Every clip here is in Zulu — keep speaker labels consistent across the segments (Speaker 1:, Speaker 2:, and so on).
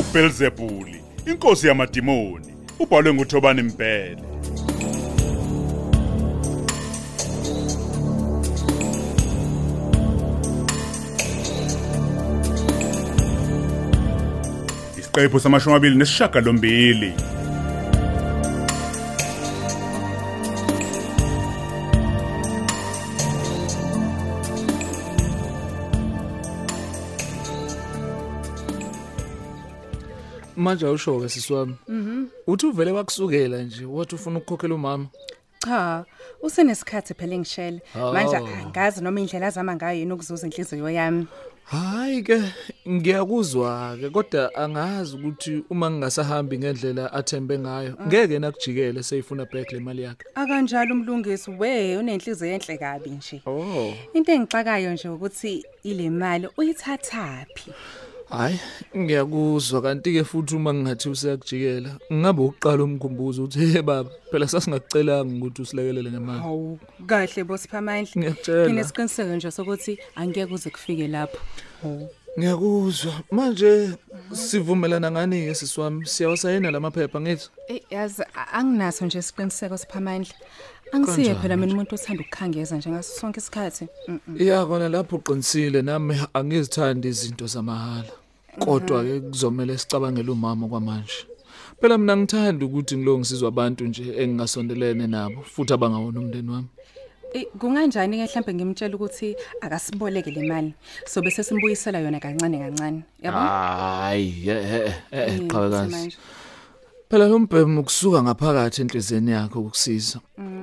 Speaker 1: uBelzebuli, inkosi yamadimoni, ubhalwe nguThobani Mphele. Isiqephu samashumi amabili nesishiyagalombili.
Speaker 2: manje awusho-ke sisi wami uthi uvele kwakusukela nje wathi ufuna ukukhokhela umama
Speaker 3: Cha, usenesikhathi phela engishele.
Speaker 2: Oh.
Speaker 3: Manje angazi noma indlela azama ngayo yini ukuzuza inhliziyo yami.
Speaker 2: hhayi-ke ngiyakuzwa-ke kodwa angazi ukuthi uma ngingasahambi ngendlela athembe ngayo ngeke nakujikele seyifuna back le mali yakhe
Speaker 3: Akanjalo umlungisi we unenhliziyo enhle kabi nje.
Speaker 2: oh
Speaker 3: Into engixakayo nje ukuthi ile mali uyithathaphi?
Speaker 2: hhayi ngiyakuzwa kanti-ke futhi uma ngingathi useyakujikela ngingabe ukuqala umkhumbuzo ukuthi he baba phela sasingakucelanga ukuthi usilekelele ngemali
Speaker 3: Hawu, kahle bosiphamandla.
Speaker 2: ngiyakutshela
Speaker 3: Nginesiqiniseko nje sokuthi angeke kuze kufike lapho.
Speaker 2: ngiyakuzwa manje sivumelana ngani-ke sisi wami siyawasayina la maphepha ngithi
Speaker 3: Eh, yazi a- anginaso nje isiqiniseko siphamandla. Angisiye phela mina umuntu othanda ukukhangeza nje ngaso sonke isikhathi. Mm.
Speaker 2: ya kona lapho uqinisile nami angizithandi izinto zamahhala kodwa-ke kuzomele sicabangele umama kwamanje phela mina ngithanda ukuthi ngilo ngisizwa abantu nje engingasondelene nabo futhi abangawona umndeni wami
Speaker 3: Eh, kunganjani ke mhlambe ngimtshela ukuthi akasiboleke le mali so bese simbuyisela yona kancane kancane yabona
Speaker 2: hayi
Speaker 3: Mm,
Speaker 2: Ah, eh, qhawekazi
Speaker 3: Samanje.
Speaker 2: phela lo mbhemu kusuka ngaphakathi enhliziyeni yakho ukusiza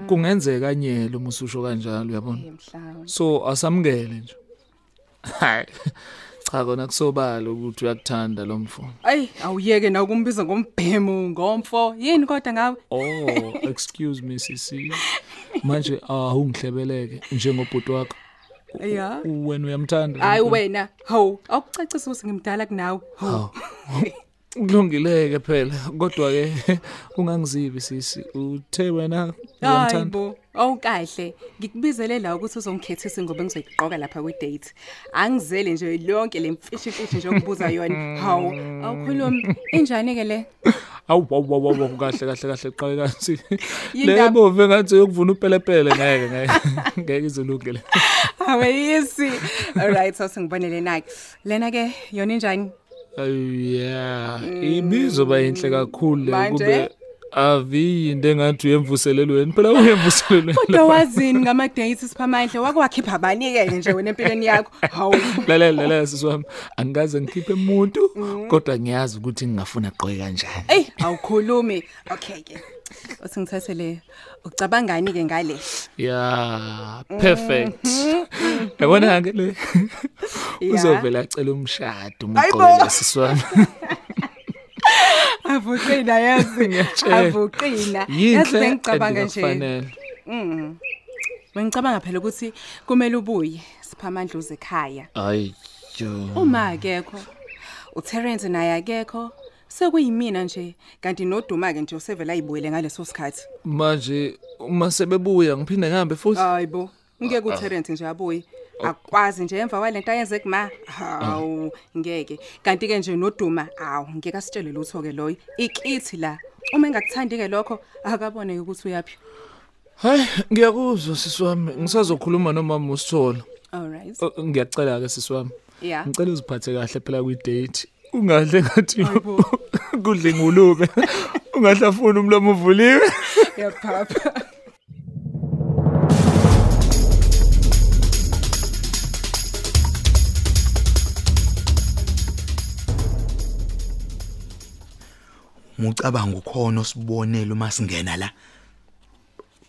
Speaker 2: kungenzeka anyele uma ususho kanjalo uyabona
Speaker 3: Eh, mhlawumbe.
Speaker 2: so asamukele nje hayi cha kona kusobala ukuthi uyakuthanda lo mfuno
Speaker 3: ayi awuyeke na ukumbiza ngombhemu ngomfo yini kodwa ngawe
Speaker 2: Oh, excuse me sisi. Manje awungihlebeleke njengobhuti wakho.
Speaker 3: ya
Speaker 2: U- Wena uyamthanda.
Speaker 3: hayi wena hawu awucacisa ukuthi ngimdala kunawe hawu
Speaker 2: Kulungileke Ah, phela, kodwa ke ungangizibi sisi. Uthe wena
Speaker 3: hayi
Speaker 2: uyamthanda.
Speaker 3: bo awukahle ngikubizele la ukuthi uzongikhethisa ngoba ngizoyiqoka lapha kwi-date angizele nje lonke le mfishimfishi nje okubuza yona hawu awukhulumi injani-ke le
Speaker 2: Awu awu awu awu, kahle kahle kahle qale kansi.
Speaker 3: Yindaba-
Speaker 2: Lebo vengathi yokuvuna upelepele ngeke ngeke. Ngeke izolungile.
Speaker 3: Aweyisi. Alright, so singibonele nake. Lena ke yona injani?
Speaker 2: Ayi yeah, ibizo bayinhle kakhulu le
Speaker 3: Manje?
Speaker 2: kube aviyinde engathi uyemvuselelweni. Phela uyemvuselelweni.
Speaker 3: Kodwa wazini ngama dates siphamandla wakwakhipha bani ke nje wena empilweni yakho? Hawu.
Speaker 2: lalela lalela sisi wami angikaze ngikhiphe umuntu
Speaker 3: Mm-hmm.
Speaker 2: kodwa ngiyazi ukuthi ngingafuna aqoke kanjani
Speaker 3: Ey, awukhulumi. Okay ke. Usingithathele ucabangani ke ngale?
Speaker 2: ya perfect
Speaker 3: Mm-hmm.
Speaker 2: yabona-ke le
Speaker 3: Yeah.
Speaker 2: uzovele acela umshado
Speaker 3: Ayibo.
Speaker 2: umqoke sisi wami
Speaker 3: Avuqina yazi.
Speaker 2: Ngiyatshela.
Speaker 3: Avuqina. Yazi
Speaker 2: yinhle and
Speaker 3: bengicabanga nje.
Speaker 2: akufanele
Speaker 3: Bengicabanga phela ukuthi kumele ubuye siphamandla uze ekhaya.
Speaker 2: ayi
Speaker 3: uma akekho uTerence naye akekho sekuyimina nje kanti noduma ke nje usevela ayibuyele ngaleso sikhathi
Speaker 2: manje uma sebebuya ngiphinde ngihambe futhi
Speaker 3: hayibo ngeke uTerence nje abuye akwazi nje emva kwalento ayenze kuma hawu ngeke kanti ke nje noduma awu ngeke asitshele lutho ke loyo ikithi la uma engakuthandi ke lokho akabone ukuthi uyaphi
Speaker 2: hayi ngiyakuzwa sisi wami ngisazokhuluma nomama usithola
Speaker 3: alright
Speaker 2: Oh, ngiyacela-ke sisi wami
Speaker 3: yeah
Speaker 2: ngicela uziphathe kahle phela kwi-date ungadle ngathi
Speaker 3: Hayibo.
Speaker 2: kudla ingulube ungahle afune umlomo uvuliwe
Speaker 3: yaphapha
Speaker 4: Mucabanga ukhona osibonela uma singena la.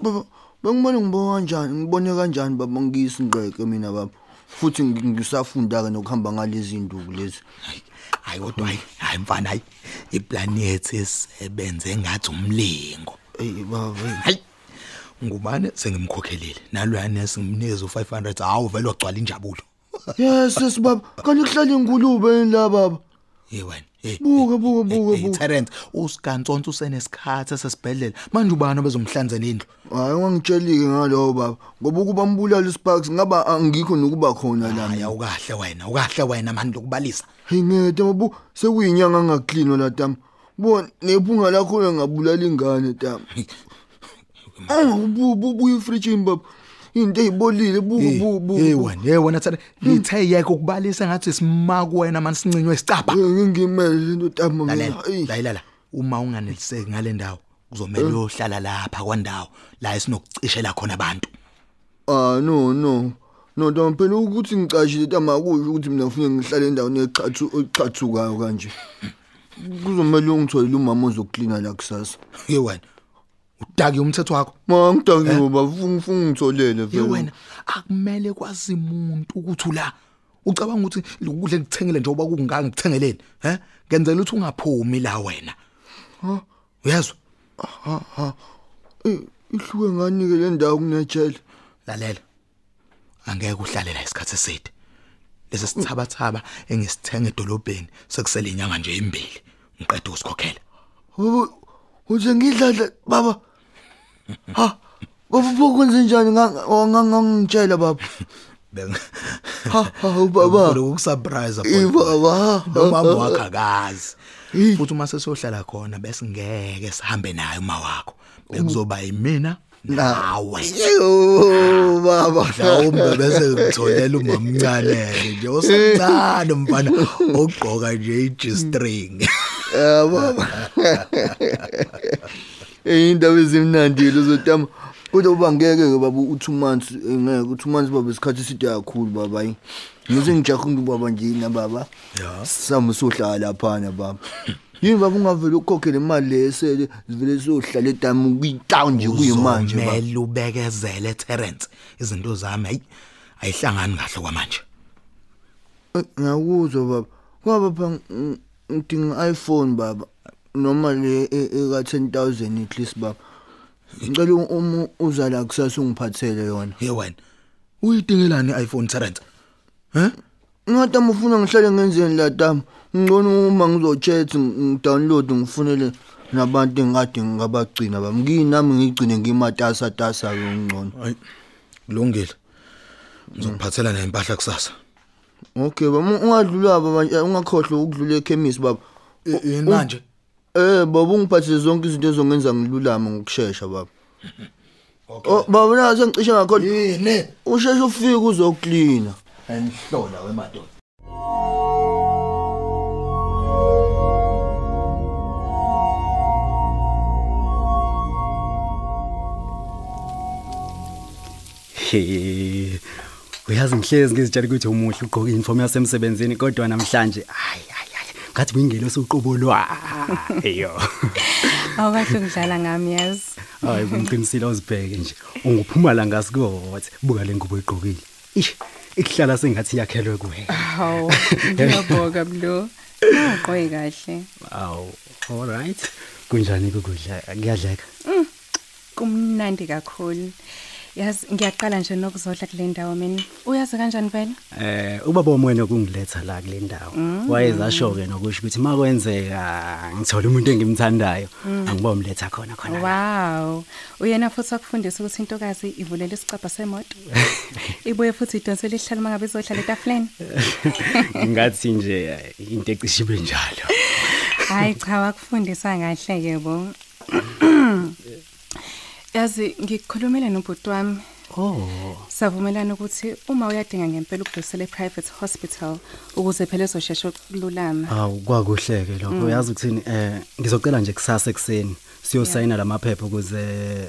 Speaker 5: baba bengibone ngibona kanjani ngibone kanjani baba ngiyisingqeke mina baba futhi ngi- ngisafunda-ke nokuhamba ngalezi nduku lezi
Speaker 4: Hayi kodwa hayi, hayi mfana hayi. Iplanet esebenze ngathi umlingo.
Speaker 5: eyi baba eyi.
Speaker 4: Hayi. Ngubane sengimkhokhelile. Nalwana singimnikeza u500 hawu vele ogcwala injabulo.
Speaker 5: yes yes baba kanti kuhlala ingulube yini la baba
Speaker 4: Ye wena, Hey,
Speaker 5: Buka, buka, buka,
Speaker 4: hey, hey,
Speaker 5: buka.
Speaker 4: Terence usigantsonto usenesikhathi esesibhedlela manje ubani obezomhlanzana indlu
Speaker 5: hayi ungangitshelike ngalowo baba ngoba ukuba mbulala isparks ngaba angikho nokuba khona la
Speaker 4: hayi awukahle wena awukahle wena manje lokubalisa
Speaker 5: hingede mabu sekuyinyanga angaklinwa la tama bona nephunga lakho ngabulala ingane tama angibububuya ifrijini baba into eyibolile buka
Speaker 4: Hey,
Speaker 5: buka
Speaker 4: hey
Speaker 5: buka
Speaker 4: wena hey wena Terence
Speaker 5: Hmm.
Speaker 4: lithe yeke ukubalisa ngathi simaku wena manje sincinywe isicapha
Speaker 5: ngingimele lento tama mina
Speaker 4: lalela
Speaker 5: eyi
Speaker 4: lalela uma unganeliseki ngale ndawo kuzomela uyohlala lapha kwandawo la esinokucishela khona abantu
Speaker 5: Ah no no. No ntombi phela ukuthi ngicashile tama kusho ukuthi mina ufike ngihlale endaweni echathu echathukayo kanje. Kuzomela ungithoyile umama ozoklina la kusasa.
Speaker 4: ye wena udaki umthetho wakho
Speaker 5: Ma ngidakiwe bafunga funga ngitholele
Speaker 4: ye
Speaker 5: vele.
Speaker 4: Eh? wena akumele kwazi umuntu ukuthi ula ucabanga ukuthi ukudle ngithengele njengoba kungaka ngithengeleni he ngenzela ukuthi ungaphumi la wena uyezwa
Speaker 5: Eh, ihluke ngani ke le ndawo kunejele?
Speaker 4: lalela angeke uhlale la isikhathi eside lesi sithabathaba engisithenga edolobheni sekusele inyanga nje imbili ngiqeda ukusikhokhela
Speaker 5: Baba, Uze ngidlala baba. Ha. Baba bokwenze njani ngangangitshela baba. Ha ha oh, baba. Eh,
Speaker 4: ukusurprise
Speaker 5: Ibaba.
Speaker 4: nomama wakho akazi
Speaker 5: Hey.
Speaker 4: futhi uma sesiyohlala khona bese ngeke sihambe naye uma wakho bekuzoba yimina nawe
Speaker 5: Yo baba.
Speaker 4: mhlawumbe bese ngitholela umamncane nje osemncane mfana ogqoka nje i-g-string
Speaker 5: Yababa. Eh indaba ezimnandi lozotama. Kodwa uba ngeke ke baba u2 months eh, ngeke u2 months baba isikhathi eside kakhulu baba yi. Ngize ngijahunga ubaba nje na baba.
Speaker 4: Ya.
Speaker 5: Samu sohlala laphana baba. Yini baba ungavele ukhokhele imali lesele sivele sohlala etamu kuyitown nje kuyimanje baba.
Speaker 4: uzomele ubekezele terence izinto zami hayi ayihlangani kahle kwamanje
Speaker 5: Eh, Ngakuzwa baba. Kwaba pha ng- ngidinga iPhone baba noma le e- eka 10000 at least baba. Ngicela u- uma uza la kusasa ungiphathele yona.
Speaker 4: ye wena uyidingelani i-iphone terence
Speaker 5: Ngatama ufuna ngihlale ngenzeni la tama. Ngcono uma ngizochat ngidownload ngifunele nabantu engade ngabagcina bami. Nginami ngigcine ngimatasa tasa ke ngcono.
Speaker 4: hayi kulungile ngizokuphathela naye impahla kusasa
Speaker 5: Okay baba ungadlula baba nje, ungakhohlwa ukudlula ekhemisi baba.
Speaker 4: yini manje
Speaker 5: Eh baba ungiphathele zonke izinto ezongenza ngilulame ngokusheshsha baba. Oh baba nazo ngicishe ngakho
Speaker 4: yini
Speaker 5: usheshe ufike uzoklina.
Speaker 4: anihlola wemadoda
Speaker 6: He. Uyazi ngihlezi ngizitshela ukuthi umuhle ugqoka uniform yasemsebenzini kodwa namhlanje hayi hayi hayi ngathi uyingelo soqobo lwa. Eyo.
Speaker 3: awukahle ukudlala ngami yazi
Speaker 6: Hayi kumqinisile uzibheke nje. Unguphuma la ngasikothe buka le ngubo egqokile. Ish ikuhlala sengathi yakhelwe kuwe.
Speaker 3: hawu ngiyabhoka blo ungqoyi kahle
Speaker 6: Aw. All right. Kunjani ukudla? Kuyadleka.
Speaker 3: kumnandi kakhulu yazi ngiyaqala nje nokuzodla kule ndawo mina uyazi kanjani vele
Speaker 6: Eh ubaba womwene kungiletha la kule ndawo. Wayezasho ke nokusho ukuthi makwenzeka ngithola umuntu engimthandayo angiba umletha khona khona. la.
Speaker 3: wow uyena futhi wakufundisa ukuthi intokazi ivulela isicabha semoto ibuye futhi idonsele ihlala uma ngabe izohlala etafuleni
Speaker 6: ngathi nje eh, into ecishe ibe njalo
Speaker 3: hayi cha wakufundisa kahle-ke bo yazi ngikhulumile nobhuti wami
Speaker 6: oh
Speaker 3: savumelana ukuthi uma uyadinga ngempela ukudlulisela e-private hospital ukuze phela ezoshesha ukululama
Speaker 6: awu kwakuhleke lokho uyazi ukuthini eh ngizocela nje kusasa ekseni siyosayina lamaphepha ukuze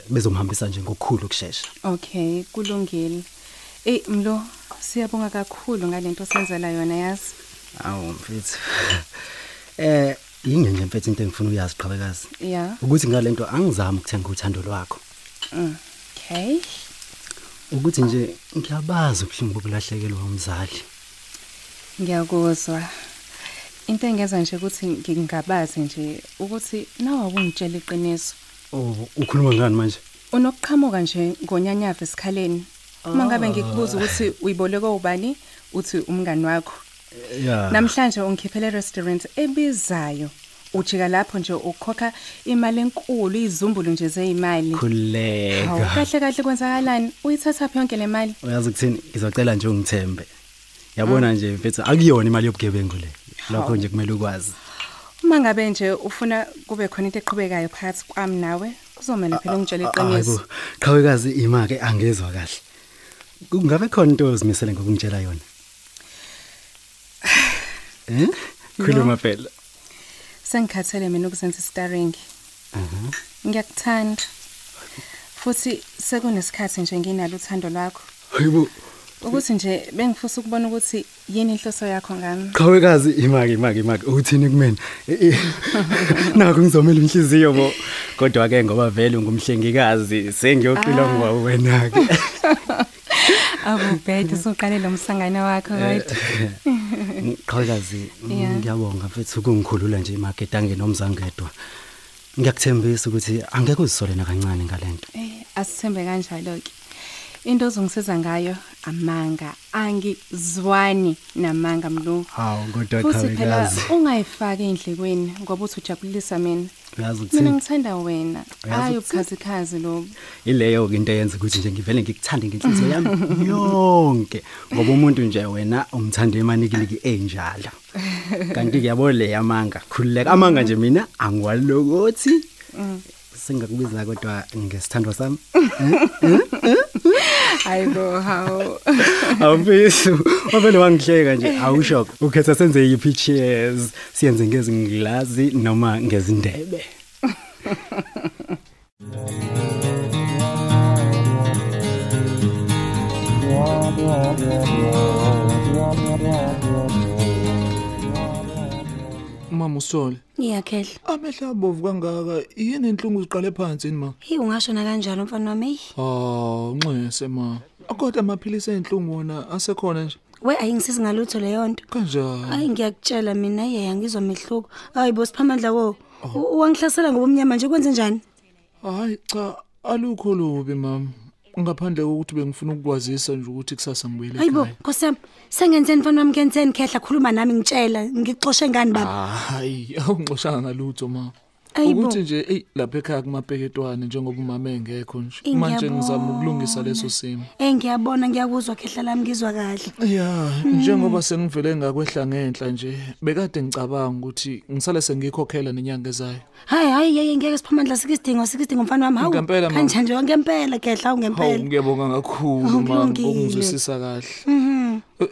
Speaker 6: bezomhambisa nje ngokukhulu kusheshsha
Speaker 3: okay kulungile eyi mlo siyabonga kakhulu ngalento osenzela yona yazi
Speaker 6: awu mfethu eh yinge nje mfethu into engifuna uyazi qhabekazi
Speaker 3: ya
Speaker 6: ukuthi ngalento angizami ukuthenga uthando lwakho
Speaker 3: okay
Speaker 6: ukuthi nje ngiyabazi ubuhlungu bokulahlekelwa umzali
Speaker 3: ngiyakuzwa into engenza nje ukuthi ngingabazi nje ukuthi nawe awungitshela iqiniso
Speaker 6: oh ukhuluma ngani manje
Speaker 3: unokuqhamuka nje ngonyanyava esikhaleni uma ngabe ngikubuza ukuthi uyiboleke ubani uthi umngani wakho
Speaker 6: Yeah.
Speaker 3: namhlanje ungikhiphele restaurant ebizayo ujika lapho nje ukhokha imali enkulu izumbulu nje zeyimali Hawu,
Speaker 6: khuleka
Speaker 3: kahle kahle kwenzakalani uyithatha phi yonke le mali
Speaker 6: uyazi ukuthini ngizocela nje ungithembe yabona nje mfethu akuyona imali yobugebengu le lokho nje kumele ukwazi
Speaker 3: uma ngabe nje ufuna kube khona into eqhubekayo phakathi kwami nawe kuzomele phela ungitshele iqiniso
Speaker 6: qhawekazi imake angezwa kahle kungabe khona into ozimisele ngokungitshela yona eh khuluma phela
Speaker 3: sengikhathele mina ukuzenza i-starring ngiyakuthanda futhi sekunesikhathi nje nginalo uthando lwakho
Speaker 6: hayibo
Speaker 3: ukuthi nje bengifusa ukubona ukuthi yini inhloso yakho ngami
Speaker 6: qhawekazi imake imake imake uthini kumina Eh, eh. nakho ngizomela inhliziyo bo kodwa ke ngoba vele ungumhlengikazi sengiyoqilongwa wena ke
Speaker 3: awubhede usuqale lo mhlangano wakho
Speaker 6: Eh,
Speaker 3: right
Speaker 6: Qhakazi
Speaker 3: Yeah.
Speaker 6: Eh, ngiyabonga mfethu kungikhulula nje imagedange nomzangedwa. Ngiyakuthembisa ukuthi angeke uzisole nakancane ngalento.
Speaker 3: Eh, asithembe kanjalo-ke into ozongisiza ngayo amanga angizwani namanga mlu
Speaker 6: Hawu kodwa
Speaker 3: futhi phela
Speaker 6: qhakazi.
Speaker 3: ungayifaki ey'ndlekweni ngoba uthi ujabulisa mina
Speaker 6: Uyazi
Speaker 3: mina
Speaker 6: ukuthi
Speaker 3: ngithanda wena
Speaker 6: Uyazi
Speaker 3: hayi
Speaker 6: ukuthini?
Speaker 3: ubukhazikhazi lobo
Speaker 6: ileyo ke into eyenza ukuthi nje ngivele ngikuthande ngenhliziyo yami yonke ngoba umuntu nje wena umthande emanikiliki enjalo. Kanti ke yabo le yamanga khululeka amanga nje mina angiwalokothi.
Speaker 3: Mm.
Speaker 6: Singakubiza kodwa ngesithandwa sami.
Speaker 3: hayi bo hawu
Speaker 6: awufisu wavele wangihleka nje awushoko ukhetha senze yiphi cheers siyenze ngezingilazi noma ngezindebe
Speaker 2: Mama usole.
Speaker 7: Ngiyakhehla.
Speaker 2: Amehla abovu kangaka, yini inhlungu uziqale phansi yini ma?
Speaker 7: Hi ungashona kanjalo mfana wami. eyi.
Speaker 2: Oh, unxese ma. Kodwa amaphilisi enhlungu wona asekhona nje.
Speaker 7: We ayingisizi ngalutho leyo
Speaker 2: Mm.
Speaker 7: nto.
Speaker 2: Kanjani?
Speaker 7: Hayi ngiyakutshela mina yeye angizwa mehluko. Hayi bo siphamandla wo. U- Wangihlasela ngoba umnyama nje kwenze njani?
Speaker 2: Hayi cha, alukho lobi mama. Ngaphandle kokuthi bengifuna ukukwazisa nje ukuthi kusasa ngibuyele
Speaker 7: Hayi bo
Speaker 2: ekhaya.
Speaker 7: Nkosi yami. Sengenzeni mfana wami kenzeni khehla khuluma nami ngitshela ngixoxe ngani baba.
Speaker 2: Ah, Hayi, awungixoshanga ngalutho ma.
Speaker 7: Hayi bo.
Speaker 2: Ukuthi nje ey lapha ekhaya kumapeketwane njengoba umama engekho nje.
Speaker 7: Eh,
Speaker 2: Manje ngizama
Speaker 7: ngiyabona.
Speaker 2: ukulungisa leso simo.
Speaker 7: Eh ngiyabona ngiyakuzwa khehla lami ngizwa kahle.
Speaker 2: Ya, njengoba sengivele ngakwehla ngenhla nje, bekade ngicabanga ukuthi ngisale sengikhokhela nenyanga ezayo.
Speaker 7: Hayi hayi yeye ngeke siphamandla sikisidingo sikisidingo mfana wami. Hawu.
Speaker 2: Ngempela, mama.
Speaker 7: Kanjani nje ngempela khehla
Speaker 2: Hawu
Speaker 7: ungempela.
Speaker 2: ngiyabonga kakhulu mama
Speaker 7: Ukulungile.
Speaker 2: ngokungizwisisa kahle. Mhm.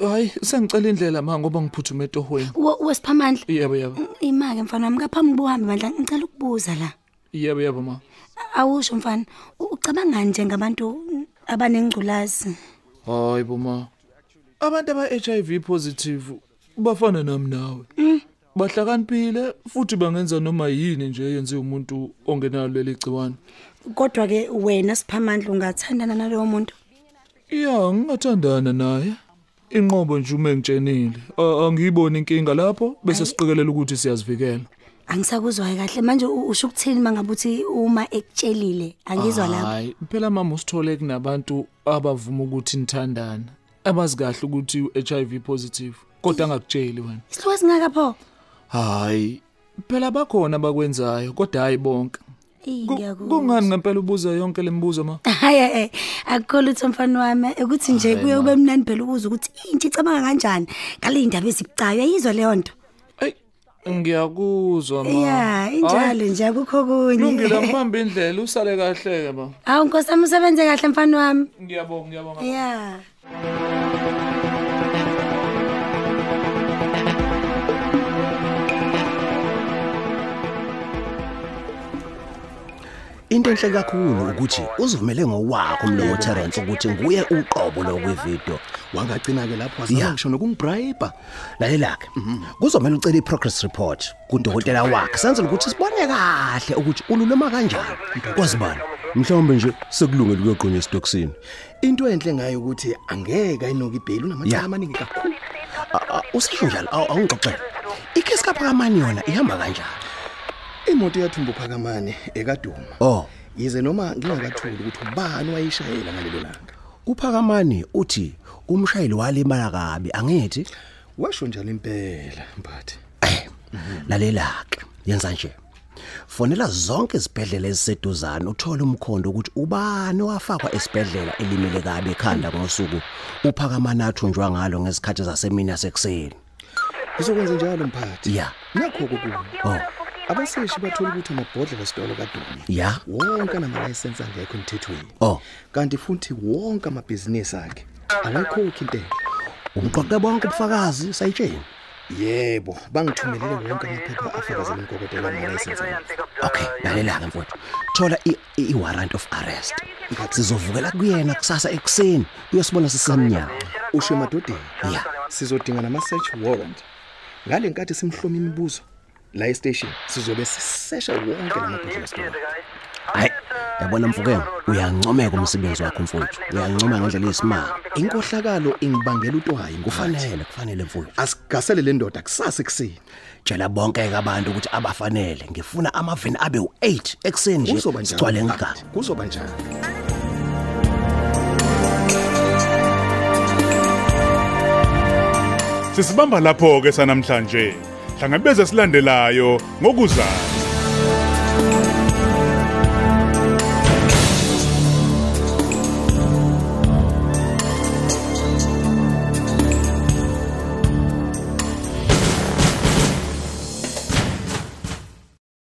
Speaker 2: Hayi, sengicela indlela ma ngoba ngiphuthume etohweni.
Speaker 7: Wo wesiphamandla.
Speaker 2: Yebo yebo.
Speaker 7: Imake mfana wami kaphambi bohambe bandla ngicela ukubuza la.
Speaker 2: Yebo yebo ma.
Speaker 7: awusho mfana u- ucabangani njengabantu abanengculazi
Speaker 2: Hayi boma. Abantu aba HIV positive bafana nami nawe. Bahlakaniphile futhi bangenza noma yini nje yenziwe umuntu ongenalo leli gciwane.
Speaker 7: kodwa-ke wena siphamandla ungathandana nalowo muntu
Speaker 2: Ya, ngingathandana naye. Inqobo nje uma engitshenile. A- Angiyiboni inkinga lapho bese siqikelela ukuthi siyazivikela.
Speaker 7: angisakuzwayo kahle manje u- usho ukuthini uma ngabe uthi uma ekutshelile angizwa lapho
Speaker 2: Hayi, phela mama usithole kunabantu abavuma ukuthi nithandana. Abazi kahle ukuthi uHIV positive kodwa angakutsheli wena.
Speaker 7: isihluko singaka pho
Speaker 2: Hayi, phela bakhona abakwenzayo kodwa hayi bonke.
Speaker 7: Eyi,
Speaker 2: Ku-
Speaker 7: ngiyakuzwa.
Speaker 2: Kungani ngempela ubuza yonke lemibuzo ma?
Speaker 7: hhayi e akukho lutho mfana wami ukuthi nje kuye kube mnandi phela ukuza ukuthi intsha icabanga kanjani ngale y'ndaba ezibucayo yayizwa leyo nto
Speaker 2: Ey, ngiyakuzwa ma.
Speaker 7: ya injalo
Speaker 2: Hhayi,
Speaker 7: nje akukho kunye
Speaker 2: Lungile ngibambe indlela usale kahle ke ma.
Speaker 7: hawu nkosi ami usebenze kahle mfana wami
Speaker 2: Ngiyabonga, ngiyabonga.
Speaker 7: ya
Speaker 8: Into enhle kakhulu ukuthi uzivumele ngowakho umlomo Terence ukuthi nguye uqobo lokwivideo.
Speaker 5: wangagcina ke lapho
Speaker 8: Yeah.
Speaker 5: wasaba ngisho nokungibrayibha
Speaker 8: Lalelake. Kuzomela mhm, ucele iprogress report kudokotela wakhe senzele ukuthi sibone kahle ukuthi ululema kanjani. Kwazibani? Mhlawumbe nje sekulungele ukuyogqunywa esitokisini.
Speaker 5: into enhle ngayo ukuthi angeke ayinoka ibheli unamacala
Speaker 8: Yeah.
Speaker 5: amaningi kakhulu
Speaker 8: Usisho njalo awu- awungixoxele. Ikhesi kaphakamani yona ihamba kanjani?
Speaker 5: imoto yathumba uphakamane ekaduma
Speaker 8: Oh,
Speaker 5: yize noma ngingakathuli ukuthi ubani wayishayela ngalelo langa
Speaker 8: uphakamani uthi umshayeli walimala kabi angithi
Speaker 4: washo njalo impela mbathi
Speaker 9: lalelaka Eh, yenza nje fonela zonke izibhedlela eziseduzane uthole umkhondo ukuthi ubani wafakwa esibhedlela elimele kabi ekhanda ngosuku uphakamanathu njwa ngalo ngesikhathi zasemini yasekuseni
Speaker 4: ngizokwenza njalo mphathi
Speaker 9: ya
Speaker 4: nakho kokunye
Speaker 9: oh
Speaker 4: abaseshi bathola ukuthi amabhodlela esitolo kadumi
Speaker 9: ya
Speaker 4: wonke anamalayisensi angekho emthethweni
Speaker 9: Oh.
Speaker 4: kanti futhi wonke amabhizinisi akhe akakhokhi intela
Speaker 9: umqoqe bonke ubufakazi sayitsheni
Speaker 4: yebo bangithumelele wonke amaphepha afakazela umkokotela amalayisensi akhe.
Speaker 9: okay lalelaka mfowethu thola i- i- i-warrant of arrest sizovukela kuyena kusasa ekuseni uyosibona sisamnyama
Speaker 4: usho emadodeni
Speaker 9: Ya.
Speaker 4: sizodinga nama-search warrant ngale nkathi simhlome imibuzo la estation sizobe sisesha wonke lamabhodlela esitolo
Speaker 9: hayi yabona mfukeko uyancomeka umsebenzi wakho mfowethu uyancoma ngendlela eyisimanga
Speaker 4: inkohlakalo ingibangela utwayi ngufanele
Speaker 9: kufanele kufanele mfowethu
Speaker 4: asigasele le ndoda kusasa ekuseni
Speaker 9: tshela bonke-ke abantu ukuthi abafanele ngifuna amaveni abe u-8 ekuseni nje
Speaker 4: kuzoba njalo
Speaker 9: sigcwale
Speaker 4: mfana,
Speaker 9: ngigaba
Speaker 4: kuzoba njalo
Speaker 1: Sisibamba lapho ke sanamhlanje. Hlangabeze silandelayo ngokuzayo.